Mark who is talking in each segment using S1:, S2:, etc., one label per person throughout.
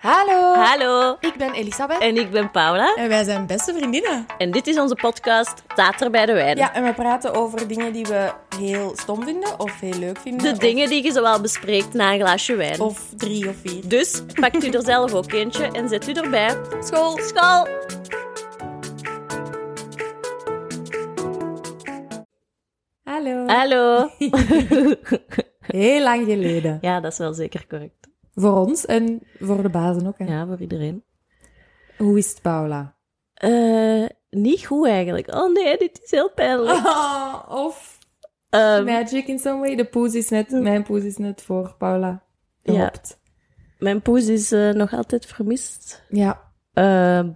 S1: Hallo.
S2: Hallo,
S1: Ik ben Elisabeth.
S2: en ik ben Paula.
S1: En wij zijn beste vriendinnen.
S2: En dit is onze podcast Tater bij de Wijn.
S1: Ja, en we praten over dingen die we heel stom vinden of heel leuk vinden.
S2: De
S1: of-
S2: dingen die je zowel bespreekt na een glaasje wijn.
S1: Of drie of vier.
S2: Dus pakt u er zelf ook eentje en zet u erbij.
S1: School.
S2: School!
S1: Hallo.
S2: Hallo.
S1: Heel lang geleden.
S2: Ja, dat is wel zeker correct.
S1: Voor ons en voor de bazen ook. Hè.
S2: Ja, voor iedereen.
S1: Hoe is het, Paula?
S2: Eh, niet goed eigenlijk. Oh nee, dit is heel
S1: Oh.
S2: pijnlijk.
S1: of
S2: Ehm,
S1: magic in some way. De poes is net, mijn poes is net voor Paula.
S2: Ja.
S1: Gehopt.
S2: mijn poes is eh, nog altijd vermist.
S1: Ja.
S2: Ehm,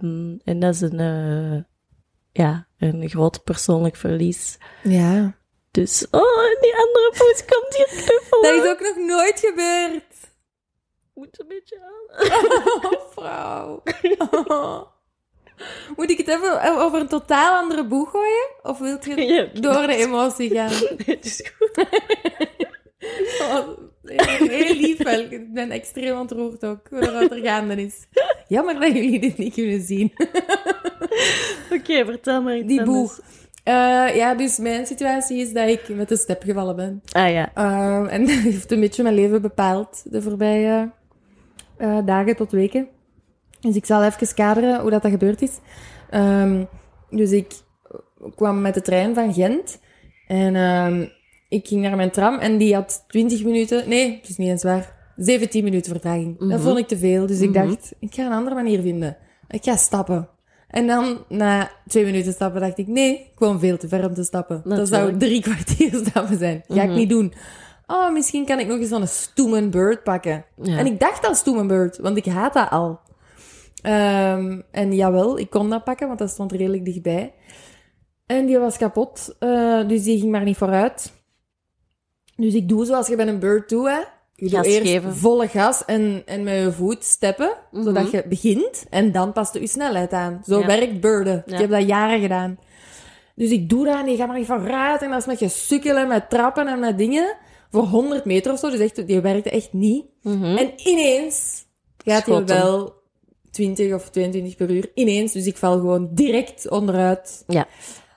S2: en dat is een, eh, ja, een groot persoonlijk verlies.
S1: Ja.
S2: Dus, oh, en die andere poes komt hier knuffelen.
S1: Dat is ook nog nooit gebeurd.
S2: moet een beetje aan.
S1: Oh, vrouw. Moet ik het even over een totaal andere boeg gooien? Of wilt je
S2: Ja,
S1: door de emotie gaan?
S2: het is goed.
S1: Oh, heel lief wel. Ik ben extreem ontroerd ook door wat er gaande is. Jammer dat jullie dit niet kunnen zien.
S2: Oké, vertel maar iets
S1: Die
S2: anders.
S1: boeg. Eh, ja, dus mijn situatie is dat ik met een step gevallen ben.
S2: Ah ja.
S1: Ehm, en dat heeft een beetje mijn leven bepaald de voorbije eh, dagen tot weken. Dus ik zal even kaderen hoe dat, dat gebeurd is. Ehm, dus ik kwam met de trein van Gent. En ehm, ik ging naar mijn tram en die had 20 minuten... Nee, het is niet eens waar. 17 minuten vertraging.
S2: Mhm.
S1: Dat vond ik te veel. Dus ik
S2: Mhm.
S1: dacht, ik ga een andere manier vinden. Ik ga stappen. En dan, na twee minuten stappen, dacht ik... Nee, ik woon veel te ver om te stappen. Dat zou
S2: Natuurlijk.
S1: drie kwartier stappen zijn. Ga ik
S2: Mhm.
S1: niet doen. Oh, misschien kan ik nog eens zo'n stoemen bird pakken.
S2: Ja.
S1: En ik dacht al stoemen bird, want ik haat dat al. Ehm, en jawel, ik kon dat pakken, want dat stond redelijk dichtbij. En die was kapot, eh, dus die ging maar niet vooruit. Dus ik doe zoals je bij een bird doet, hè. Je doet
S2: Gas
S1: eerst
S2: geven.
S1: volle gas en, en met je voet steppen,
S2: Mhm.
S1: zodat je begint. En dan past je je snelheid aan. Zo
S2: Ja.
S1: werkt birden.
S2: Ja.
S1: Ik heb dat jaren gedaan. Dus ik doe dat en die gaat maar niet vooruit. En dat is met gesukkel en met trappen en met dingen. Voor 100 meter of zo. Dus echt, die werkte echt niet.
S2: Mhm.
S1: En ineens gaat hij
S2: Schot hem.
S1: wel 20 of 22 per uur. Ineens. Dus ik val gewoon direct onderuit.
S2: Ja.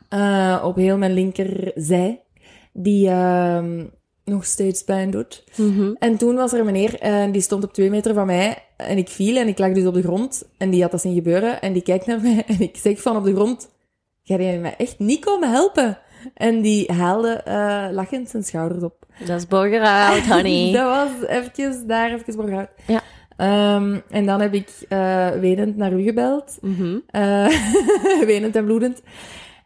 S1: Eh, op heel mijn linkerzij. Die ehm, nog steeds pijn doet.
S2: Mhm.
S1: En toen was er een meneer, en die stond op twee meter van mij. En ik viel en ik lag dus op de grond. En die had dat zien gebeuren. En die kijkt naar mij en ik zeg van op de grond... Ga jij mij echt niet komen helpen? En die haalde eh, lachend zijn schouders op.
S2: Dat is burger out, honey.
S1: dat was eventjes daar, eventjes voor uit.
S2: Ja.
S1: Ehm, en dan heb ik eh, wenend naar u gebeld.
S2: Mhm.
S1: Eh, wenend en bloedend.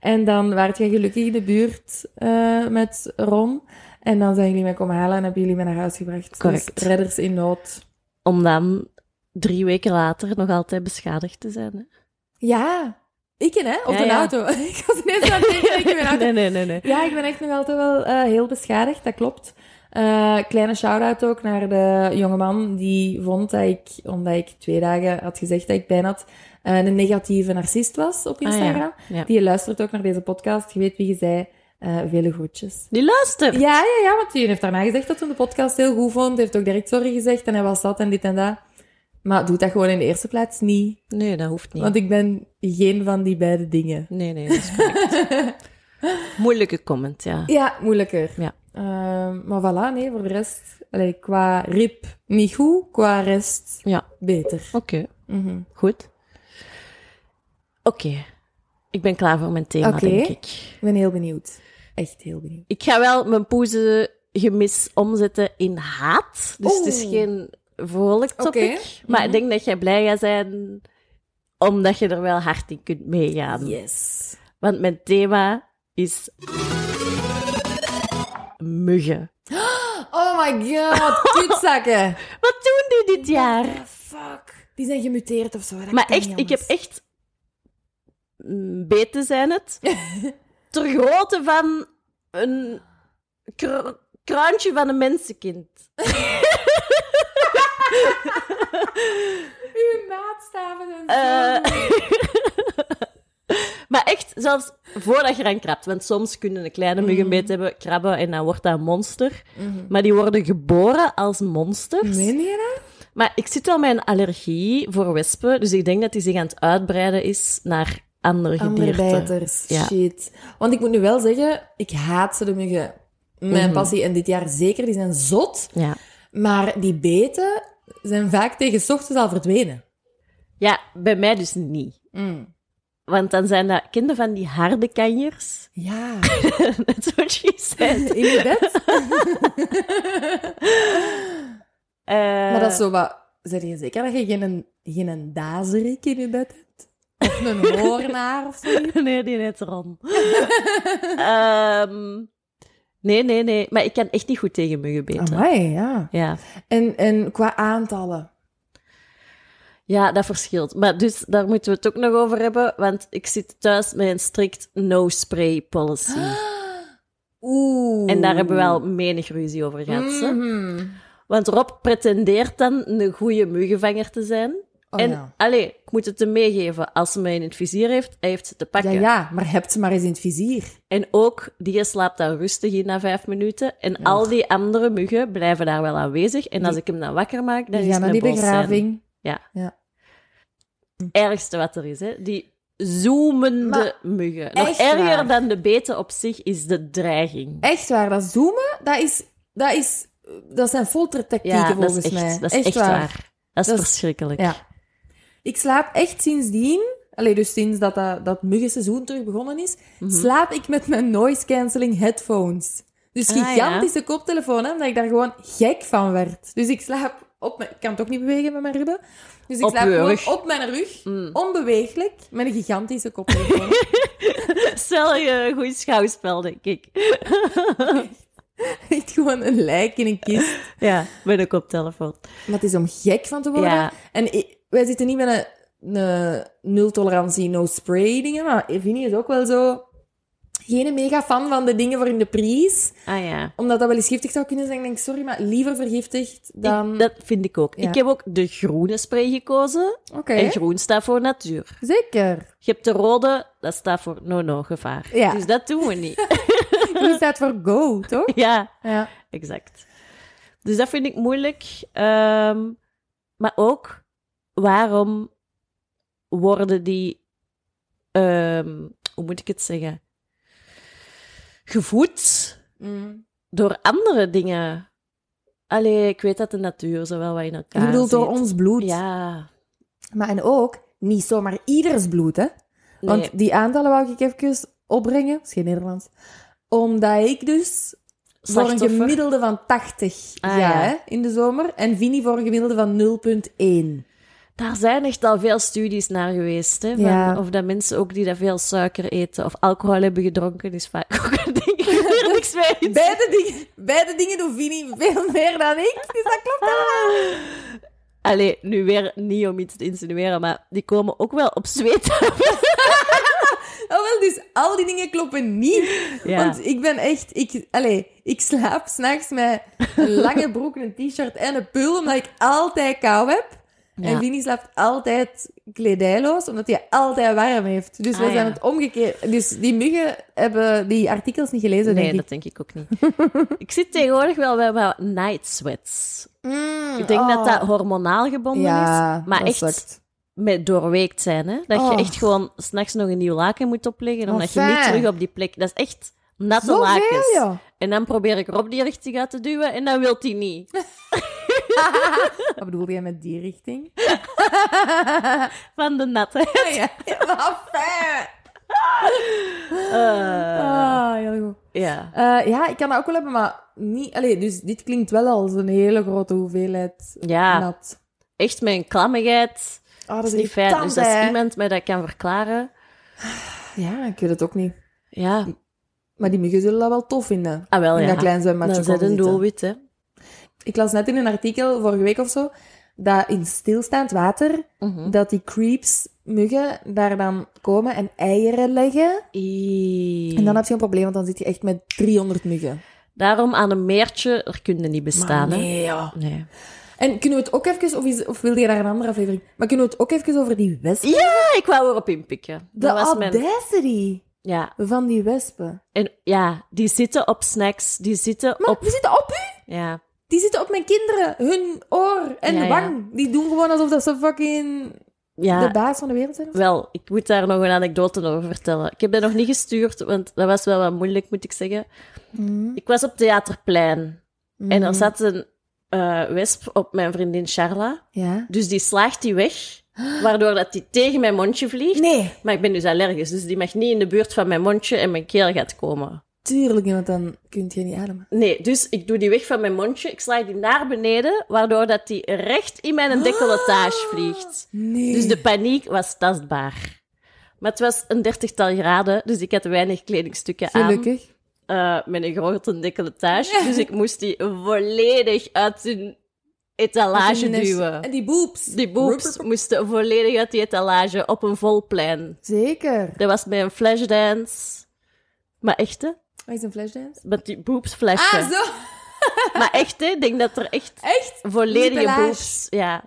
S1: En dan waart jij gelukkig in de buurt eh, met Ron. En dan zijn jullie mij komen halen en hebben jullie mij naar huis gebracht.
S2: Correct.
S1: Dus redders in nood.
S2: Om dan drie weken later nog altijd beschadigd te zijn. hè.
S1: Ja, ik hè? Of
S2: Ja,
S1: de
S2: ja.
S1: auto. ik was ineens aan het denken, ik in mijn auto.
S2: Nee, nee, nee. nee.
S1: Ja, ik ben echt nog altijd wel eh, heel beschadigd, dat klopt. Eh, kleine shout-out ook naar de jongeman die vond dat ik, omdat ik twee dagen had gezegd dat ik bijna had, eh, een negatieve narcist was op
S2: Ah,
S1: Instagram.
S2: ja.
S1: Die luistert ook naar deze podcast. Je weet wie je zei. Eh, vele groetjes.
S2: Die luistert.
S1: Ja, ja, ja, want die heeft daarna gezegd dat hij de podcast heel goed vond. Heeft ook direct sorry gezegd en hij was dat en dit en dat. Maar doe dat gewoon in de eerste plaats niet.
S2: Nee, dat hoeft niet.
S1: Want ik ben geen van die beide dingen.
S2: Nee, nee, dat is correct. Moeilijke comment, ja.
S1: Ja, moeilijker.
S2: Ja.
S1: Ehm, maar voilà, nee, voor de rest... allee, qua rib niet goed, qua rest
S2: Ja,
S1: beter.
S2: oké.
S1: Mhm.
S2: Goed. Oké. Ik ben klaar voor mijn thema,
S1: Oké.
S2: denk ik.
S1: Ik ben heel benieuwd. Echt heel benieuwd.
S2: Ik ga wel mijn poezengemis omzetten in haat. Dus het is
S1: Oeh.
S2: geen vrolijk
S1: Oké. Mhm.
S2: topic. Maar ik denk dat jij blij gaat zijn omdat je er wel hard in kunt meegaan.
S1: Yes.
S2: Want mijn thema is muggen.
S1: Oh my god, kutzakken.
S2: Wat doen die dit jaar?
S1: Ah, fuck. Die zijn gemuteerd of zo. dat
S2: Maar
S1: kan
S2: echt,
S1: niet
S2: ik heb
S1: anders.
S2: echt mm, beten zijn het. ter grootte van een kr- kruintje van een mensenkind.
S1: Uw maatstaven en
S2: Eh,
S1: zo.
S2: maar echt, zelfs voordat je eraan krabt. Want soms kunnen een kleine mug een beet hebben, krabben en dan wordt dat een monster.
S1: Mhm.
S2: Maar die worden geboren als monsters.
S1: Meen je dat?
S2: Maar ik zit wel met een allergie voor wespen, dus ik denk dat die zich aan het uitbreiden is naar andere
S1: Andere
S2: gedierte.
S1: bijters.
S2: Ja.
S1: Shit. Want ik moet nu wel zeggen, ik haat ze de muggen. Mijn
S2: Mhm.
S1: passie. En dit jaar zeker, die zijn zot.
S2: Ja.
S1: Maar die beten zijn vaak tegen 's ochtends al verdwenen.
S2: ja, bij mij dus niet.
S1: Mm.
S2: Want dan zijn dat kinderen van die harde kanjers.
S1: Ja,
S2: That's what she said.
S1: in je bed.
S2: Eh,
S1: Maar dat is zo wat... Zeg je zeker dat je geen, geen dazerik in je bed hebt? Of een hoornaar of zo?
S2: Nee, die net Ron. Ehm, nee, nee, nee. Maar ik kan echt niet goed tegen
S1: Ah,
S2: muggen beten.
S1: Amai, ja.
S2: Ja.
S1: En, en qua aantallen.
S2: ja, dat verschilt. Maar dus daar moeten we het ook nog over hebben. Want ik zit thuis met een strikt no-spray policy.
S1: Oeh.
S2: En daar hebben we
S1: Oh.
S2: wel menig ruzie over gehad. ze.
S1: Mhm.
S2: Want Rob pretendeert dan een goede muggenvanger te zijn.
S1: Oh,
S2: en
S1: ja.
S2: allee, ik moet het hem meegeven. Als ze mij in het vizier heeft, hij heeft ze te
S1: Ja,
S2: pakken.
S1: ja, maar heb ze maar eens in het vizier.
S2: En ook, die slaapt daar rustig in na vijf minuten. En al die andere muggen blijven daar wel aanwezig. En als ik hem dan wakker maak, dan
S1: Die
S2: is
S1: gaan
S2: het
S1: naar
S2: een
S1: die
S2: bos zijn.
S1: begraving.
S2: Ergste wat er is, hè. Die zoemende
S1: Maar
S2: muggen. Nog
S1: echt
S2: erger
S1: waar?
S2: dan de beten op zich is de dreiging.
S1: Echt waar, dat zoomen, dat, is, dat, is, dat zijn foltertactieken
S2: ja, dat
S1: volgens
S2: is echt,
S1: mij.
S2: Dat is echt, waar. Dat is
S1: Dat is-
S2: verschrikkelijk.
S1: Ja. Ik slaap echt sindsdien, allee, dus sinds dat, dat, dat muggenseizoen terug begonnen is,
S2: Mhm.
S1: slaap ik met mijn noise cancelling headphones. Dus
S2: Ah, ja.
S1: gigantische koptelefoon, hè, omdat ik daar gewoon gek van werd. Dus ik slaap op mijn... Ik kan het ook niet bewegen met mijn ribben. Dus ik
S2: Op
S1: slaap
S2: je
S1: gewoon
S2: rug. Mm.
S1: op mijn rug, onbeweeglijk, met een gigantische koptelefoon.
S2: Stel je een goed schouwspel, denk ik.
S1: echt gewoon een lijk in een kist.
S2: Ja, met een koptelefoon.
S1: Maar het is om gek van te worden.
S2: Ja.
S1: En i- wij zitten niet met een, een nul tolerantie, no spray dingen. Maar Vinnie is ook wel zo. Geen mega fan van de dingen voor in de prijs.
S2: Ah ja.
S1: Omdat dat wel eens giftig zou kunnen zijn. Ik denk, sorry, maar liever vergiftigd dan.
S2: Ik- dat vind ik ook.
S1: Ja. Eh?
S2: Ik heb ook de groene spray gekozen.
S1: Oké,
S2: En groen staat voor natuur.
S1: zeker.
S2: Je hebt de rode, dat staat voor no-no-gevaar.
S1: Ja.
S2: Dus dat doen we niet.
S1: Groen staat voor go, toch?
S2: ja,
S1: Ja.
S2: exact. Dus dat vind ik moeilijk. Ehm, maar ook, waarom worden die... ehm, hoe moet ik het zeggen? Gevoed
S1: Mm.
S2: door andere dingen. Allee, ik weet dat de natuur zo wel wat in
S1: Je
S2: elkaar
S1: bedoelt door
S2: zit.
S1: ons bloed.
S2: Ja.
S1: Maar en ook niet zomaar ieders bloed, hè?
S2: Nee.
S1: Want die aantallen wou ik even opbrengen. Dat is geen Nederlands. Omdat ik dus voor een
S2: Slachtoffer.
S1: gemiddelde van 80
S2: Ah,
S1: ja,
S2: ja.
S1: Hè, in de zomer. En Vini voor een gemiddelde van 0,1.
S2: Daar zijn echt al veel studies naar geweest. Hè, van
S1: Ja.
S2: Of dat mensen ook die dat veel suiker eten of alcohol hebben gedronken, is vaak ook een ding. Ik weet er niks mee. in.
S1: Beide dingen, beide dingen doet Vini veel meer dan ik. Dus dat klopt helemaal.
S2: Allee, nu weer niet om iets te insinueren, maar die komen ook wel op zweet.
S1: Oh, wel, dus al die dingen kloppen niet.
S2: Ja.
S1: Want ik ben echt... Ik, allez, ik slaap s'nachts met een lange broek, een t-shirt en een pul, omdat ik altijd kou heb. En
S2: Ja.
S1: Vini slaapt altijd kledijloos, omdat hij altijd warm heeft. Dus
S2: Ah,
S1: we zijn
S2: ja.
S1: het omgekeerd. Dus die muggen hebben die artikels niet gelezen, denk
S2: Nee,
S1: ik.
S2: dat denk ik ook niet. ik zit tegenwoordig wel bij wat night sweats.
S1: Mm,
S2: Ik denk dat
S1: oh.
S2: dat hormonaal gebonden
S1: ja,
S2: is, maar
S1: dat
S2: echt
S1: sukt.
S2: met doorweekt zijn. Hè? Dat je
S1: Oh.
S2: echt gewoon s'nachts nog een nieuw laken moet opleggen,
S1: Oh,
S2: omdat je niet
S1: fijn.
S2: terug op die plek... Dat is echt natte
S1: Zoveel,
S2: lakens.
S1: joh.
S2: En dan probeer ik Rob die richting uit te duwen en dan wil hij niet.
S1: Wat bedoel jij met die richting?
S2: Van de natte.
S1: ja, wat fijn!
S2: Eh.
S1: ah, heel goed.
S2: Ja.
S1: Eh, ja, ik kan dat ook wel hebben, maar niet... Allee, dus dit klinkt wel als een hele grote hoeveelheid
S2: Ja,
S1: nat.
S2: echt met een klammigheid.
S1: Ah,
S2: Dat Ah. is niet fijn.
S1: irritant,
S2: Dus als
S1: hè.
S2: iemand mij dat kan verklaren,
S1: Ja, ik weet het ook niet.
S2: ja,
S1: Maar die muggen zullen dat wel tof vinden.
S2: ah wel
S1: in dat
S2: ja.
S1: klein zwembadje
S2: Dan zit
S1: komen
S2: een
S1: zitten.
S2: doelwit, hè.
S1: Ik las net in een artikel, vorige week of zo, dat in stilstaand water,
S2: Mhm.
S1: dat die creeps, muggen, daar dan komen en eieren leggen.
S2: Ie.
S1: En dan heb je een probleem, want dan zit je echt met 300 muggen.
S2: Daarom aan een meertje, er kunnen niet bestaan,
S1: Maar
S2: hè.
S1: nee, ja.
S2: Nee.
S1: En kunnen we het ook even, of, is, of wil je daar een andere aflevering? Maar kunnen we het ook even over die wespen?
S2: Ah, ik wou erop inpikken.
S1: de
S2: Dat was mijn...
S1: audacity
S2: Ja.
S1: van die wespen.
S2: En, ja, die zitten op snacks, die zitten
S1: Maar
S2: op...
S1: we zitten op u!
S2: Ja.
S1: Die zitten op mijn kinderen, hun oor en
S2: Ja, ja.
S1: wang. Die doen gewoon alsof dat ze fucking
S2: Ja,
S1: de baas van de wereld zijn. of zo.
S2: Wel, ik moet daar nog een anekdote over vertellen. Ik heb dat nog niet gestuurd, want dat was wel wat moeilijk, moet ik zeggen. Ik was op Theaterplein Mm.
S1: Mm.
S2: en er zat een eh, wesp op mijn vriendin Charla.
S1: Ja.
S2: Dus die slaagt die weg, waardoor dat die tegen mijn mondje vliegt.
S1: Nee,
S2: Maar ik ben dus allergisch, dus die mag niet in de buurt van mijn mondje en mijn keel gaat komen.
S1: tuurlijk, want dan kun je niet ademen.
S2: Nee, dus ik doe die weg van mijn mondje, ik sla die naar beneden, waardoor dat die recht in mijn decolletage vliegt.
S1: Nee.
S2: Dus de paniek was tastbaar. Maar het was een dertigtal graden, dus ik had weinig kledingstukken
S1: Gelukkig.
S2: aan. eh, met een grote decolletage. Dus ik moest die volledig uit hun etalage
S1: En die-
S2: duwen.
S1: En die boeps.
S2: Die boobs moesten volledig uit die etalage op een vol plein.
S1: Zeker.
S2: Dat was bij een flashdance. Maar echt, hè?
S1: Wat is een flashdance?
S2: Met die boobs flashen.
S1: Ah, zo.
S2: Maar echt, hè? Ik denk dat er echt
S1: Echt?
S2: volledige
S1: Nippelage.
S2: boobs... Ja.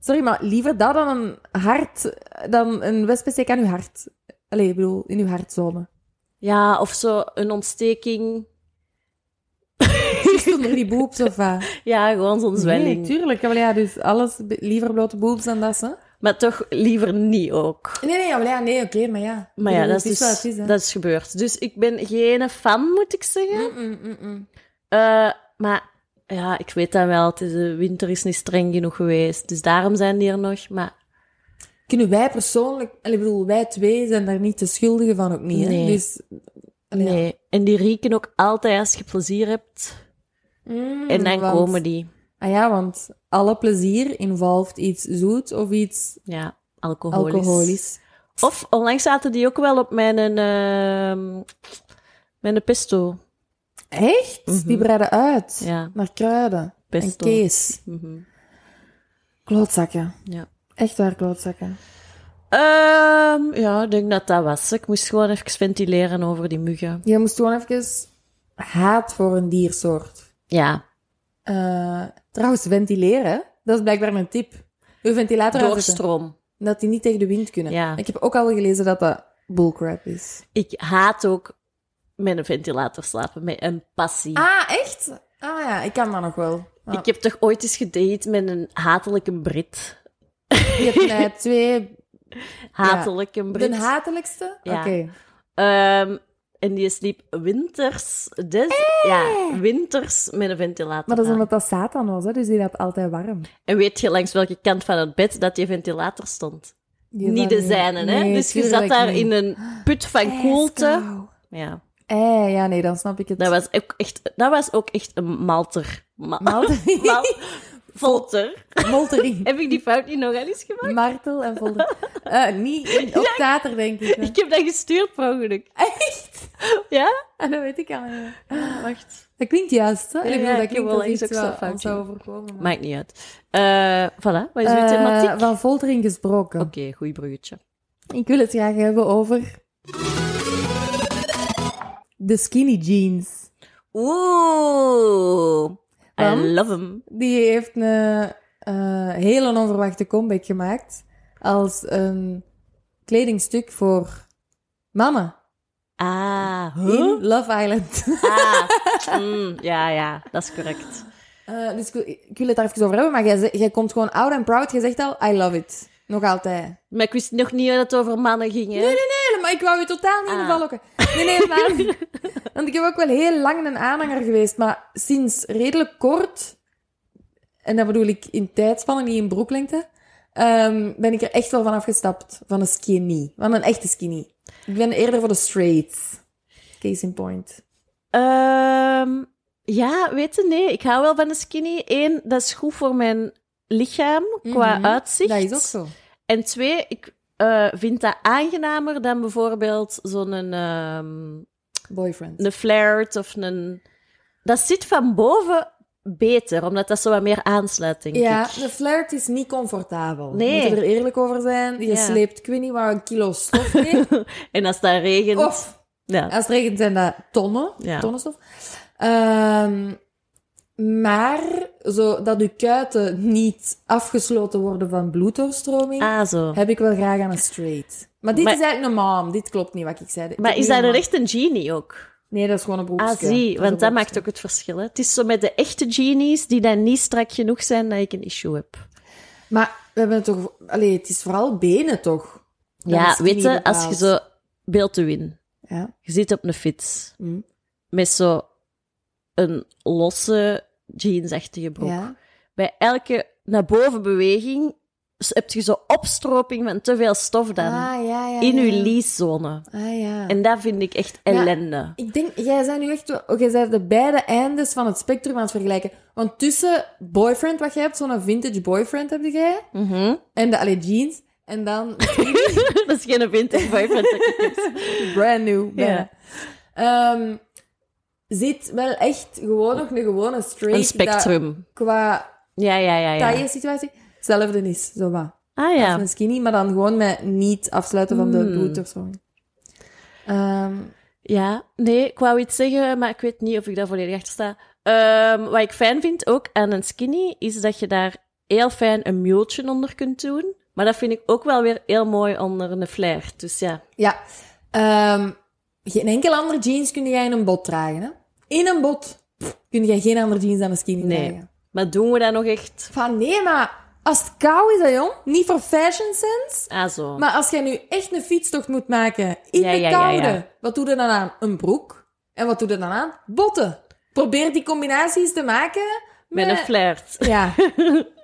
S1: Sorry, maar liever dat dan een hart, dan een wespesteek aan uw hart. Allee, ik bedoel, in uw hartzone.
S2: ja, of zo een ontsteking.
S1: Juist onder die boobs of wat?
S2: Ja, gewoon zo'n zwelling.
S1: Nee, tuurlijk. Ja, wel ja, dus alles be- liever blote boobs dan dat, hè?
S2: Maar toch liever niet ook.
S1: Nee, nee, ja, wel ja, nee, oké, maar ja.
S2: Maar ja,
S1: Ik bedoel,
S2: dat
S1: het
S2: is,
S1: wel
S2: dus,
S1: het is, hè.
S2: dat is gebeurd. Dus ik ben geen fan, moet ik zeggen.
S1: Mm, mm, mm, mm.
S2: Eh, maar ja, ik weet dat wel. Het is, de winter is niet streng genoeg geweest. Dus daarom zijn die er nog. Maar
S1: Kunnen wij persoonlijk... allee, Ik bedoel, wij twee zijn daar niet de schuldigen van, ook niet, hè?
S2: Nee.
S1: Dus... allee, ja.
S2: nee. En die rieken ook altijd als je plezier hebt.
S1: Mm,
S2: En dan
S1: want-
S2: komen die.
S1: Ah ja, want alle plezier involveert iets zoet of iets
S2: Ja, alcoholisch.
S1: alcoholisch.
S2: Of onlangs zaten die ook wel op mijn, ehm mijn pesto.
S1: Echt? Die breiden uit
S2: Mhm. Ja,
S1: naar kruiden en
S2: pesto.
S1: kees.
S2: Mhm,
S1: Klootzakken.
S2: Ja.
S1: Echt waar, klootzakken.
S2: Ehm, ja, ik denk dat dat was. Ik moest gewoon even ventileren over die muggen.
S1: Je moest gewoon even haat voor een diersoort.
S2: Ja,
S1: Eh, trouwens, ventileren. hè? Dat is blijkbaar mijn tip. Uw ventilator aanzetten.
S2: doorstroom.
S1: Dat die niet tegen de wind kunnen.
S2: Ja.
S1: Ik heb ook al gelezen dat dat bullcrap is.
S2: Ik haat ook met een ventilator slapen, met een passie.
S1: Ah, echt? Ah ja, ik kan dat nog wel. Ah.
S2: Ik heb toch ooit eens gedate met een hatelijke Brit?
S1: Je hebt mij twee...
S2: Hatelijke Brit.
S1: De hatelijkste?
S2: Ja.
S1: Oké.
S2: Ehm, en die sliep winters, dus, ja, winters met een ventilator.
S1: Maar dat is
S2: aan.
S1: omdat dat Satan was, hè? dus die had altijd warm.
S2: En weet je langs welke kant van het bed dat die ventilator stond?
S1: Die
S2: niet
S1: had
S2: de zijne, hè?
S1: Nee,
S2: dus je zat
S1: tuurlijk
S2: daar
S1: niet.
S2: in een put van koelte.
S1: Ijskou.
S2: Ja,
S1: Eh, ja, nee, dan snap ik het.
S2: dat was ook echt, dat was ook echt een malter. Ma-
S1: Maltering.
S2: mal- Volter.
S1: Moltering.
S2: Heb ik die fout niet nog al eens gemaakt?
S1: Martel en volder. Eh, niet in, op tater, denk ik. hè.
S2: Ik heb dat gestuurd per ongeluk.
S1: Echt?
S2: Ja?
S1: Ah, dat weet ik al niet.
S2: wacht.
S1: Dat klinkt juist, hè?
S2: Ja,
S1: ik bedoel,
S2: ja, ik
S1: dat
S2: heb
S1: klinkt
S2: wel
S1: als
S2: eens
S1: iets
S2: ook zo'n
S1: wat
S2: foutje.
S1: ons zou overkomen. maar-
S2: Maakt niet uit. Eh voilà, wat is uw
S1: Eh,
S2: thematiek? Oké,
S1: van foltering gesproken.
S2: goed bruggetje.
S1: Ik wil het graag hebben over... De skinny jeans.
S2: Oeh, I
S1: Want?
S2: love him.
S1: Die heeft een eh, hele onverwachte comeback gemaakt als een kledingstuk voor mannen
S2: Ah,
S1: in
S2: huh?
S1: Love Island.
S2: ah. Mm, ja, ja, dat is correct.
S1: Eh, dus ik, wil- ik wil het daar even over hebben, maar jij, ze- jij komt gewoon oud en proud. Jij zegt al, I love it. Nog altijd.
S2: Maar ik wist nog niet dat het over mannen ging, hè?
S1: Nee, maar ik wou je totaal niet in de
S2: Ah.
S1: val lokken. Nee, nee, maar... Want ik heb ook wel heel lang een aanhanger geweest, maar sinds redelijk kort... En dat bedoel ik in tijdspannen, niet in broeklengte. ehm, ben ik er echt wel van afgestapt. Van een skinny. Van een echte skinny. Ik ben eerder voor de straights. Case in point.
S2: Ehm, ja, weet je, nee. Ik hou wel van de skinny. Eén, dat is goed voor mijn lichaam, qua
S1: Mhm,
S2: uitzicht.
S1: Dat is ook zo.
S2: En twee, ik eh, vind dat aangenamer dan bijvoorbeeld zo'n ehm,
S1: Boyfriend.
S2: een flared of een... Dat zit van boven beter, omdat dat zo wat meer aansluit, denk
S1: Ja,
S2: ik.
S1: de flirt is niet comfortabel.
S2: Nee.
S1: Moeten we er eerlijk over zijn. Je
S2: Ja.
S1: sleept, ik weet niet waar, een kilo stof mee.
S2: En als dat regent...
S1: of
S2: Ja.
S1: Als het regent zijn dat tonnen,
S2: Ja.
S1: tonnenstof. Ehm, maar zo dat uw kuiten niet afgesloten worden van bloeddoorstroming,
S2: Ah, zo.
S1: heb ik wel graag aan een straight. Maar dit
S2: Maar-
S1: is eigenlijk een mom. Dit klopt niet wat ik zei. Ik
S2: Maar
S1: heb
S2: is
S1: nu
S2: dat
S1: een
S2: een
S1: mom.
S2: echt een genie ook?
S1: Nee, dat is gewoon een broekje.
S2: Ah, zie,
S1: is een
S2: want dat
S1: broekje.
S2: maakt ook het verschil. Hè. Het is zo met de echte genies die dan niet strak genoeg zijn dat ik een issue heb.
S1: Maar we hebben het toch... Allee, het is vooral benen, toch? Dat
S2: ja,
S1: is
S2: weet je,
S1: niet
S2: als je zo
S1: bepaald.
S2: beeld te win,
S1: Ja.
S2: je zit op een fiets
S1: Hm.
S2: met zo een losse jeansachtige broek.
S1: Ja.
S2: Bij elke naar boven beweging s- heb je zo opstroping van te veel stof dan
S1: Ah, ja, ja,
S2: in
S1: ja.
S2: je leaszone.
S1: Ah, ja.
S2: En dat vind ik echt ellende.
S1: Ik denk, jij zijn nu echt... wel- Oké, jij bent de beide eindes van het spectrum aan het vergelijken. Want tussen boyfriend, wat jij hebt, zo'n vintage boyfriend heb jij,
S2: Mhm.
S1: en de allee, jeans, en dan
S2: dat is geen vintage boyfriend. dat ik heb.
S1: brand new.
S2: Ja.
S1: bijna. Ehm, zit wel echt gewoon nog een gewone straight...
S2: Een spectrum.
S1: dat qua
S2: Ja, ja, ja. ja.
S1: taille-situatie hetzelfde is, zo wat.
S2: Ah
S1: Als
S2: ja.
S1: een skinny, maar dan gewoon met niet afsluiten van de
S2: Hmm.
S1: bloed of zo. Ehm,
S2: Ja, nee, ik wou iets zeggen, maar ik weet niet of ik daar volledig achter sta. Ehm, wat ik fijn vind ook aan een skinny, is dat je daar heel fijn een multje onder kunt doen. Maar dat vind ik ook wel weer heel mooi onder een flair. Dus ja,
S1: ja. Ehm, geen enkel ander jeans kun jij in een bot dragen. Hè? In een bot pff, kun jij geen ander jeans dan een skinny
S2: Nee.
S1: dragen.
S2: maar doen we dat nog echt?
S1: Van nee, maar als het koud is, hè, jong. Niet voor fashion sense.
S2: Ah zo.
S1: Maar als jij nu echt een fietstocht moet maken in
S2: Ja,
S1: de
S2: ja, ja,
S1: koude,
S2: ja.
S1: wat doe je dan aan? Een broek. En wat doe je dan aan? Botten. Probeer die combinaties te maken
S2: Met een flair,
S1: Ja.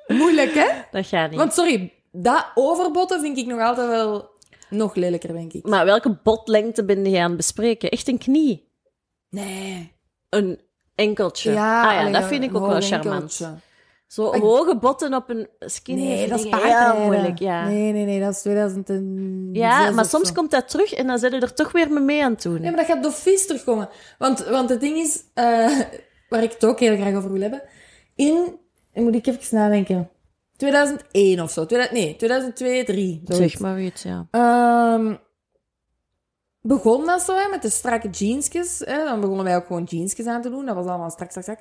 S1: Moeilijk, hè?
S2: dat gaat niet.
S1: Want sorry, dat overbotten vind ik nog altijd wel nog lelijker, denk ik.
S2: Maar welke botlengte ben je aan het bespreken? Echt een knie?
S1: Nee.
S2: Een enkeltje? ah ja,
S1: alleen
S2: dat
S1: een
S2: vind ik ook
S1: hoog
S2: wel charmant.
S1: enkeltje.
S2: Zo
S1: Ik-
S2: hoge botten op een skinny
S1: Nee,
S2: vind
S1: dat is
S2: ik
S1: paardrijden.
S2: heel moeilijk. Ja,
S1: Nee, nee, nee, dat is 2010.
S2: ja maar soms komt dat terug en dan zijn we er toch weer mee aan het doen.
S1: Nee, maar dat gaat door vies terugkomen. Want, want het ding is, eh, waar ik het ook heel graag over wil hebben. In, moet ik even nadenken. 2001 of zo. 2000 nee, 2002, 2003. zoiets.
S2: Zeg maar iets, ja.
S1: Ehm, begon dat zo hè, met de strakke jeansjes. Hè? Dan begonnen wij ook gewoon jeansjes aan te doen. Dat was allemaal strak, strak, strak.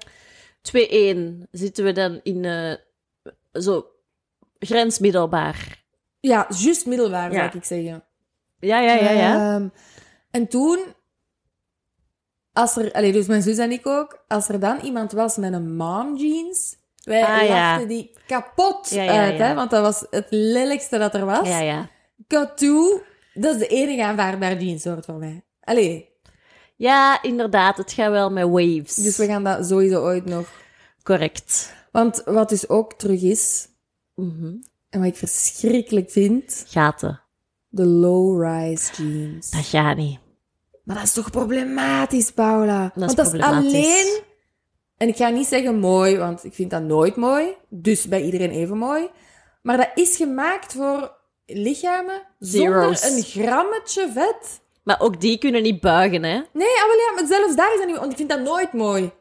S2: 2-1 zitten we dan in eh, zo grensmiddelbaar.
S1: Ja, juist middelbaar,
S2: Ja.
S1: zou ik zeggen.
S2: Ja, ja, ja, ja.
S1: Ehm, en toen, als er, allee, dus mijn zus en ik ook, als er dan iemand was met een mom jeans, wij
S2: Ah, ja.
S1: lachten die kapot
S2: Ja, ja,
S1: uit,
S2: ja.
S1: Hè? want dat was het lelijkste dat er was.
S2: ja, ja.
S1: Katoe, dat is de enige aanvaardbare jeanssoort voor mij. Allee,
S2: Ja, inderdaad. Het gaat wel met waves.
S1: dus we gaan dat sowieso ooit nog
S2: Correct.
S1: Want wat dus ook terug is,
S2: Mhm.
S1: en wat ik verschrikkelijk vind,
S2: Gaten.
S1: de low-rise jeans.
S2: Dat gaat niet.
S1: Maar dat is toch problematisch, Paula?
S2: is
S1: want dat
S2: problematisch.
S1: is alleen... En ik ga niet zeggen mooi, want ik vind dat nooit mooi. Dus bij iedereen even mooi. Maar dat is gemaakt voor lichamen
S2: Zero's.
S1: zonder een grammetje vet.
S2: Maar ook die kunnen niet buigen, hè?
S1: Nee, ah, wel ja, maar zelfs daar is dat niet... Want ik vind dat nooit mooi.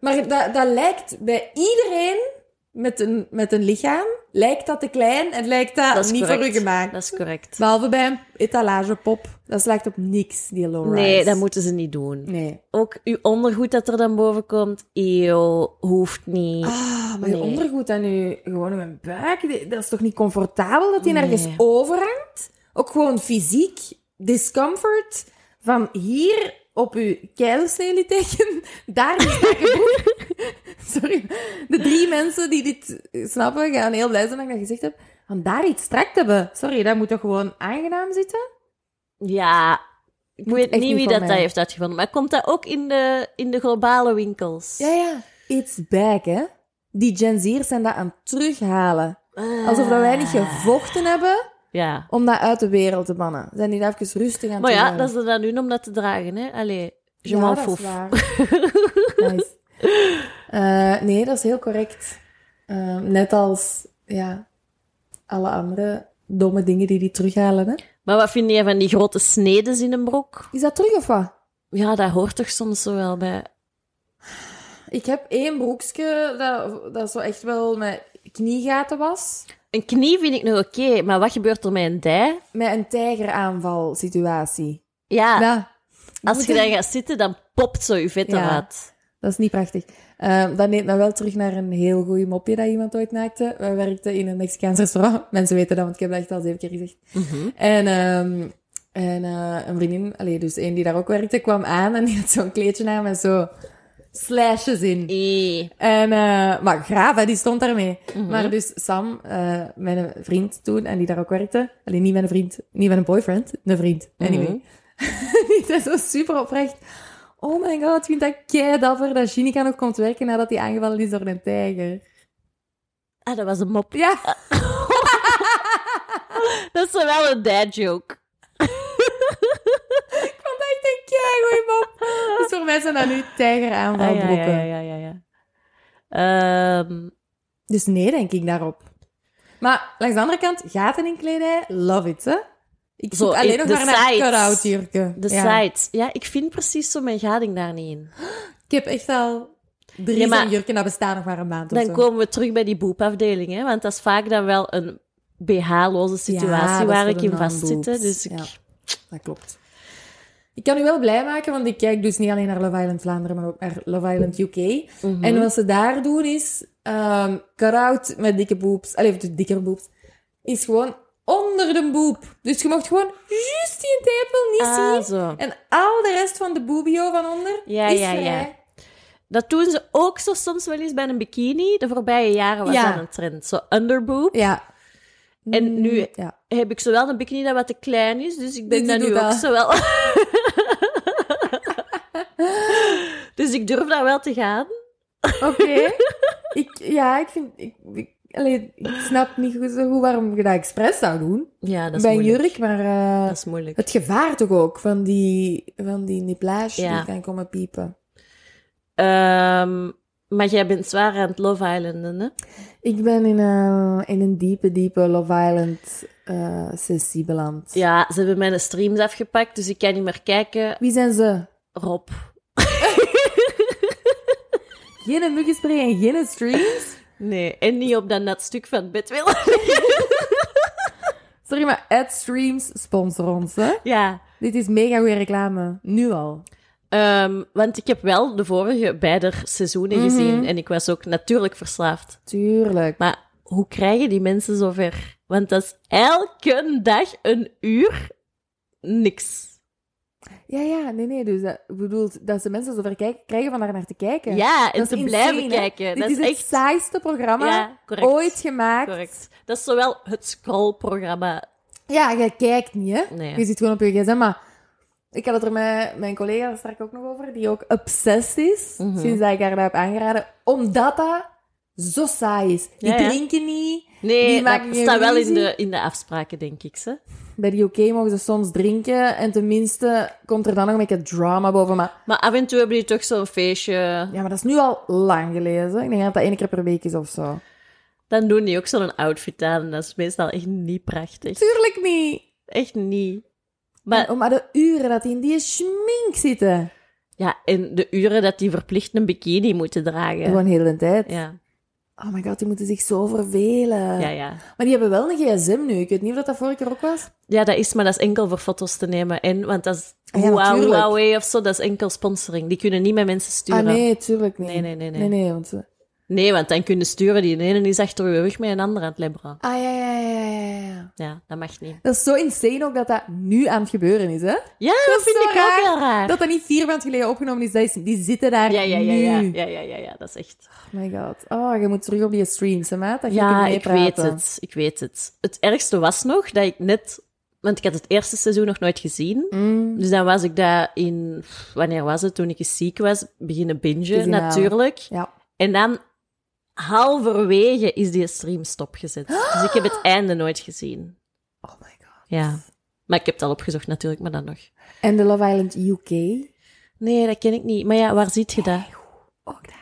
S1: Maar dat, dat lijkt bij iedereen met een, met een lichaam... Lijkt dat te klein en lijkt dat,
S2: Dat is
S1: niet
S2: correct.
S1: voor u gemaakt.
S2: Dat is correct.
S1: Behalve bij een etalagepop. Dat lijkt op niks, die low-rise.
S2: Nee, dat moeten ze niet doen.
S1: Nee.
S2: Ook uw ondergoed dat er dan boven komt, eeuw, hoeft niet.
S1: Ah, maar
S2: Nee.
S1: je ondergoed en je, gewoon mijn buik, die- dat is toch niet comfortabel dat die
S2: Nee.
S1: nergens overhangt? Ook gewoon fysiek discomfort van hier op je keilsnee teken, daar die strakke broek. Sorry. De drie mensen die dit snappen gaan heel blij zijn dat ik dat gezegd heb. Van daar iets strak te hebben. Sorry, dat moet toch gewoon aangenaam zitten?
S2: Ja, ik
S1: Moet
S2: weet
S1: echt
S2: niet
S1: niet
S2: wie
S1: van
S2: dat, dat
S1: mij.
S2: heeft uitgevonden. Maar komt dat ook in de, in de globale winkels?
S1: Ja, ja. It's back, hè. Die Gen Z'ers zijn dat aan het terughalen. Alsof dat wij niet gevochten hebben
S2: Ah. Ja.
S1: om dat uit de wereld te bannen. Zijn die daar even rustig aan
S2: Maar ja,
S1: te
S2: dat is er dan nu om dat te dragen, hè? Allee, je
S1: ja,
S2: m'en
S1: dat is
S2: fout.
S1: waar. nice. Eh, nee, dat is heel correct. Eh, net als ja, alle andere domme dingen die die terughalen. Hè?
S2: Maar wat vind je van die grote snedes in een broek?
S1: Is dat terug of wat?
S2: Ja, dat hoort toch soms zo wel bij.
S1: Ik heb één broekje dat, dat zo echt wel met kniegaten was.
S2: Een knie vind ik nog oké, maar wat gebeurt er met een dij?
S1: Met een tijgeraanval situatie.
S2: Ja,
S1: Ja,
S2: Ah. als
S1: moet
S2: je
S1: ik-
S2: dan gaat zitten, dan popt zo je vet
S1: Ja.
S2: eruit.
S1: Dat is niet prachtig. Ehm, dat neemt me wel terug naar een heel goeie mopje dat iemand ooit maakte. Wij werkten in een Mexicaans restaurant. Mensen weten dat, want ik heb dat echt al zeven keer gezegd.
S2: Mhm.
S1: En ehm, En eh, een vriendin, allee, dus een die daar ook werkte, kwam aan en die had zo'n kleedje aan met zo slashes in. En, eh, maar graaf, hè, die stond daarmee.
S2: Mhm.
S1: Maar dus Sam, eh, mijn vriend toen, en die daar ook werkte. Alleen niet mijn vriend, niet mijn boyfriend, een vriend.
S2: Mhm.
S1: Anyway. die zei zo super oprecht. Oh my god, ik vind dat kei dapper dat Ginica nog komt werken nadat hij aangevallen is door een tijger.
S2: Ah, dat was een mop.
S1: Ja,
S2: Dat is wel een dad joke.
S1: ik vond dat echt een kei goeie mop. Dus voor mij zijn dat nu
S2: Ah, ja,
S1: tijgeraanvalbroeken.
S2: ja, ja, ja, ja, ja. Ehm,
S1: Dus nee, denk ik daarop. Maar langs de andere kant, gaten in kledij, love it, hè? Ik
S2: Zo,
S1: zoek alleen nog
S2: de
S1: maar naar
S2: sites.
S1: cut-out jurken.
S2: de
S1: Ja.
S2: sites. Ja, ik vind precies zo mijn gading daar niet in.
S1: Ik heb echt al drie
S2: Ja, maar-
S1: zo'n jurken, dat bestaan nog maar een maand of
S2: Dan
S1: zo.
S2: komen we terug bij die boepafdeling, hè? want dat is vaak dan wel een BH-loze
S1: Ja,
S2: situatie
S1: dat
S2: waar
S1: is
S2: ik
S1: voor
S2: in
S1: de
S2: vastzit. hè.
S1: non-boobs.
S2: Dus ik...
S1: Ja. Dat klopt. Ik kan u wel blij maken, want ik kijk dus niet alleen naar Love Island Vlaanderen, maar ook naar Love Island UK.
S2: Mhm.
S1: En wat ze daar doen is, ehm cut-out met dikke boobs, allee, dus dikkere boobs, is gewoon onder de boep. Dus je mocht gewoon juist die tepel niet zien.
S2: Ah, zo.
S1: En al de rest van de boobio van onder
S2: Ja,
S1: is
S2: ja,
S1: vrij.
S2: ja. Dat doen ze ook zo soms wel eens bij een bikini. De voorbije jaren was
S1: Ja.
S2: dat een trend. Zo underboob.
S1: Ja.
S2: En nu-
S1: Ja.
S2: Heb ik zowel een bikini dat wat te klein is, dus ik
S1: Dus
S2: doe
S1: die
S2: dat nu
S1: doet
S2: ook
S1: dat.
S2: zowel. dus ik durf daar wel te gaan.
S1: Oké. ik, ja, ik vind... Ik, ik, allee, ik snap niet goed, zo goed waarom je dat expres zou doen.
S2: Ja, dat is
S1: bij een
S2: moeilijk.
S1: jurk, maar... eh,
S2: Dat is moeilijk.
S1: het gevaar toch ook van die, van die niplage
S2: Ja.
S1: die kan komen piepen.
S2: Ehm, maar jij bent zwaar aan het Love Islanden, hè?
S1: Ik ben in, eh, in een diepe, diepe Love Island eh, sessie beland.
S2: Ja, ze hebben mijn streams afgepakt, dus ik kan niet meer kijken.
S1: Wie zijn ze?
S2: Rob.
S1: Geen muggenspray en geen streams?
S2: Nee, en niet op dat nat stuk van het bed willen.
S1: Sorry, maar ad streams sponsor ons, hè?
S2: ja.
S1: Dit is mega goede reclame. Nu al.
S2: Ehm, want ik heb wel de vorige beide seizoenen
S1: Mhm.
S2: gezien en ik was ook natuurlijk verslaafd.
S1: Tuurlijk.
S2: Maar hoe krijgen die mensen zover? Want dat is elke dag een uur niks.
S1: Ja, ja, nee, nee. Dus dat bedoelt dat ze mensen zover kijken, krijgen van daar naar te kijken.
S2: Ja, en
S1: Dat
S2: te
S1: is
S2: blijven
S1: insane, hè?
S2: kijken.
S1: Dit
S2: Dat
S1: is
S2: is
S1: het
S2: echt
S1: saaiste programma
S2: Ja, correct.
S1: ooit gemaakt.
S2: correct. Dat is zowel het scrollprogramma.
S1: Ja, je kijkt niet, hè?
S2: Nee.
S1: Je zit gewoon op je gsm, maar... Ik had het er met mijn collega straks ook nog over, die ook obsessed is,
S2: Mhm.
S1: sinds dat ik haar dat heb aangeraden, omdat dat zo saai is. Die
S2: Ja, ja.
S1: drinken niet.
S2: Nee,
S1: Die
S2: dat
S1: maken geen
S2: staat wel in
S1: ruzie.
S2: de, in de afspraken, denk ik. Ze.
S1: Bij die oké mogen ze soms drinken en tenminste komt er dan nog een beetje drama boven. Maar
S2: Maar af en toe hebben die toch zo'n feestje.
S1: ja, maar dat is nu al lang geleden. Ik denk dat dat één keer per week is of zo.
S2: Dan doen die ook zo'n outfit aan. en Dat is meestal echt niet prachtig.
S1: Tuurlijk niet.
S2: Echt niet.
S1: Maar,
S2: Maar
S1: om aan de uren dat die in die schmink zitten.
S2: ja, en de uren dat die verplicht een bikini moeten dragen.
S1: Gewoon heel de tijd.
S2: Ja,
S1: Oh my god, die moeten zich zo vervelen.
S2: ja, ja.
S1: Maar die hebben wel een gsm nu. Ik weet niet of dat, dat vorige keer ook was.
S2: Ja, dat is, maar dat is enkel voor foto's te nemen. En, want dat is
S1: Ah, ja,
S2: Huawei
S1: natuurlijk.
S2: Huawei of zo, dat is enkel sponsoring. Die kunnen niet met mensen sturen.
S1: Ah nee, tuurlijk niet.
S2: nee, nee, nee, nee.
S1: Nee, nee, want... ze-
S2: Nee, want dan kunnen sturen die ene is achter je rug met een ander aan het lebberen.
S1: Ah ja, ja, ja, ja, ja.
S2: Ja, dat mag niet.
S1: Dat is zo insane ook dat dat nu aan het gebeuren is, hè?
S2: Ja, dat,
S1: Dat is
S2: vind
S1: zo
S2: ik
S1: raar.
S2: ook heel raar.
S1: Dat dat niet vier maanden geleden opgenomen is, dat is die zitten daar
S2: Ja, ja, ja, ja,
S1: nu.
S2: ja, ja, ja, ja, dat is echt.
S1: Oh my god. Oh, je moet terug op die streams, hè, maat? Dat je
S2: Ja,
S1: kunt
S2: ik weet
S1: meepraten.
S2: het. Ik weet het. Het ergste was nog dat ik net, want ik had het eerste seizoen nog nooit gezien.
S1: Mm.
S2: Dus dan was ik daar in, wanneer was het? Toen ik eens ziek was, beginnen bingen
S1: Gezien halen.
S2: natuurlijk.
S1: Ja.
S2: En dan halverwege is die stream stopgezet. Dus ik heb het einde nooit gezien.
S1: Oh my god.
S2: Ja. Maar ik heb het al opgezocht natuurlijk, maar dan nog.
S1: En de Love Island UK?
S2: Nee, dat ken ik niet. Maar ja, waar ziet je dat?
S1: Ook daar.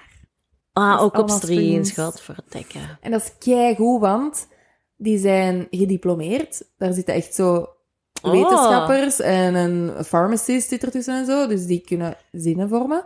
S2: Ah,
S1: is
S2: ook op
S1: allemaal
S2: streams.
S1: streams.
S2: Godverdikke.
S1: En dat is keigoed, want die zijn gediplomeerd. Daar zitten echt zo
S2: Oh.
S1: wetenschappers en een pharmacist zit ertussen en zo. Dus die kunnen zinnen vormen.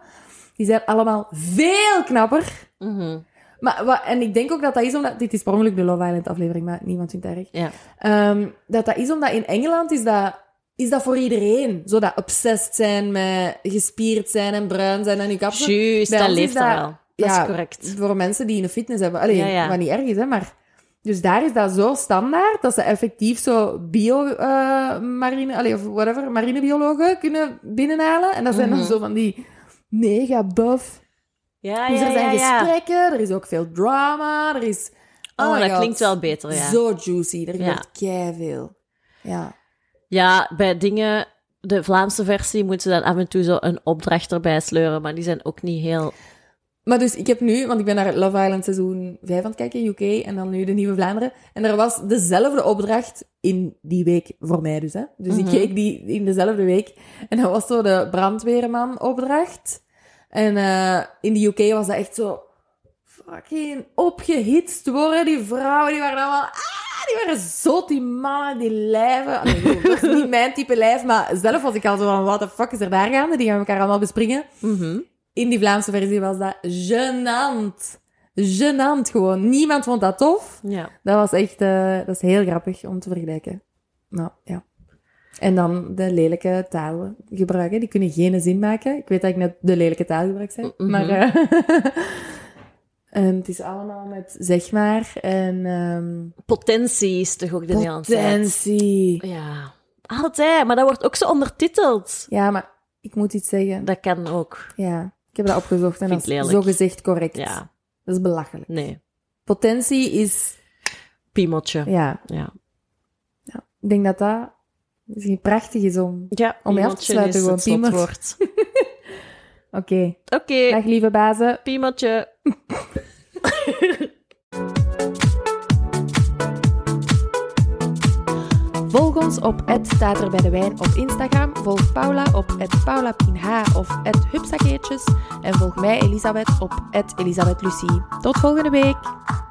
S1: Die zijn allemaal veel knapper.
S2: Mhm.
S1: Maar, wa- en ik denk ook dat dat is omdat... Dit is per ongeluk de Love Island aflevering, maar niemand vindt het erg.
S2: Ja.
S1: Ehm, dat dat is omdat in Engeland is dat, is dat voor iedereen. Zo dat obsessed zijn met gespierd zijn en bruin zijn en je kapsel.
S2: Juist,
S1: Bij
S2: dat
S1: ons
S2: leeft
S1: is
S2: dan
S1: dat-
S2: wel. Dat
S1: ja,
S2: is correct.
S1: Voor mensen die een fitness hebben. Allee,
S2: Ja, ja.
S1: wat niet erg is, hè, maar Dus daar is dat zo standaard dat ze effectief zo bio-marine, of whatever, marinebiologen kunnen binnenhalen. En dat zijn
S2: Mhm.
S1: dan zo van die mega buff.
S2: Ja,
S1: dus
S2: Ah, ja,
S1: er zijn
S2: ja, ja.
S1: gesprekken, er is ook veel drama, er is...
S2: Oh,
S1: my
S2: dat
S1: God.
S2: klinkt wel beter, ja.
S1: Zo juicy, er
S2: Ja.
S1: gebeurt keiveel. Ja.
S2: Ja, bij dingen, de Vlaamse versie, moeten ze dan af en toe zo een opdracht erbij sleuren, maar die zijn ook niet heel...
S1: Maar dus, ik heb nu, want ik ben naar het Love Island seizoen 5 aan het kijken, UK, en dan nu de Nieuwe Vlaanderen. En er was dezelfde opdracht in die week voor mij dus, hè. Dus
S2: Mhm.
S1: ik keek die in dezelfde week. En dat was zo de brandweerman opdracht. En eh, in de UK was dat echt zo fucking opgehitst worden. Die vrouwen, die waren allemaal... Ah, die waren zot, die mannen, die lijven. Ah, nee, dat was niet mijn type lijf, maar zelf was ik al zo van, what the fuck is er daar gaande? Die gaan elkaar allemaal bespringen. In die Vlaamse versie was dat gênant. Gênant gewoon. Niemand vond dat tof.
S2: Ja.
S1: Dat was echt... eh, dat is heel grappig om te vergelijken. Nou, ja. En dan de lelijke taal gebruiken. Die kunnen geen zin maken. Ik weet dat ik net de lelijke taal gebruikt heb.
S2: Mhm.
S1: Maar... eh, en het is allemaal met zeg maar en... ehm
S2: Potentie is toch ook de Nederlandse tijd?
S1: potentie.
S2: Ja. Altijd, maar dat wordt ook zo ondertiteld.
S1: Ja, maar ik moet iets zeggen.
S2: Dat kan ook.
S1: Ja, ik heb dat opgezocht en
S2: Vind
S1: dat
S2: ik lelijk.
S1: is zogezegd correct.
S2: Ja,
S1: Dat is belachelijk.
S2: nee.
S1: Potentie is...
S2: Piemeltje.
S1: Ja,
S2: Ja.
S1: Ik denk dat dat misschien prachtig is om...
S2: Ja,
S1: Om mee af te sluiten,
S2: is
S1: gewoon
S2: het
S1: piemel.
S2: slotwoord.
S1: Oké,
S2: Oké,
S1: dag lieve bazen.
S2: piemeltje.
S1: Volg ons op het staat er bij de wijn op Instagram. Volg Paula op het paulapinh of het hupsakeertjes. En volg mij Elisabeth op het Elisabeth Lucie. Tot volgende week.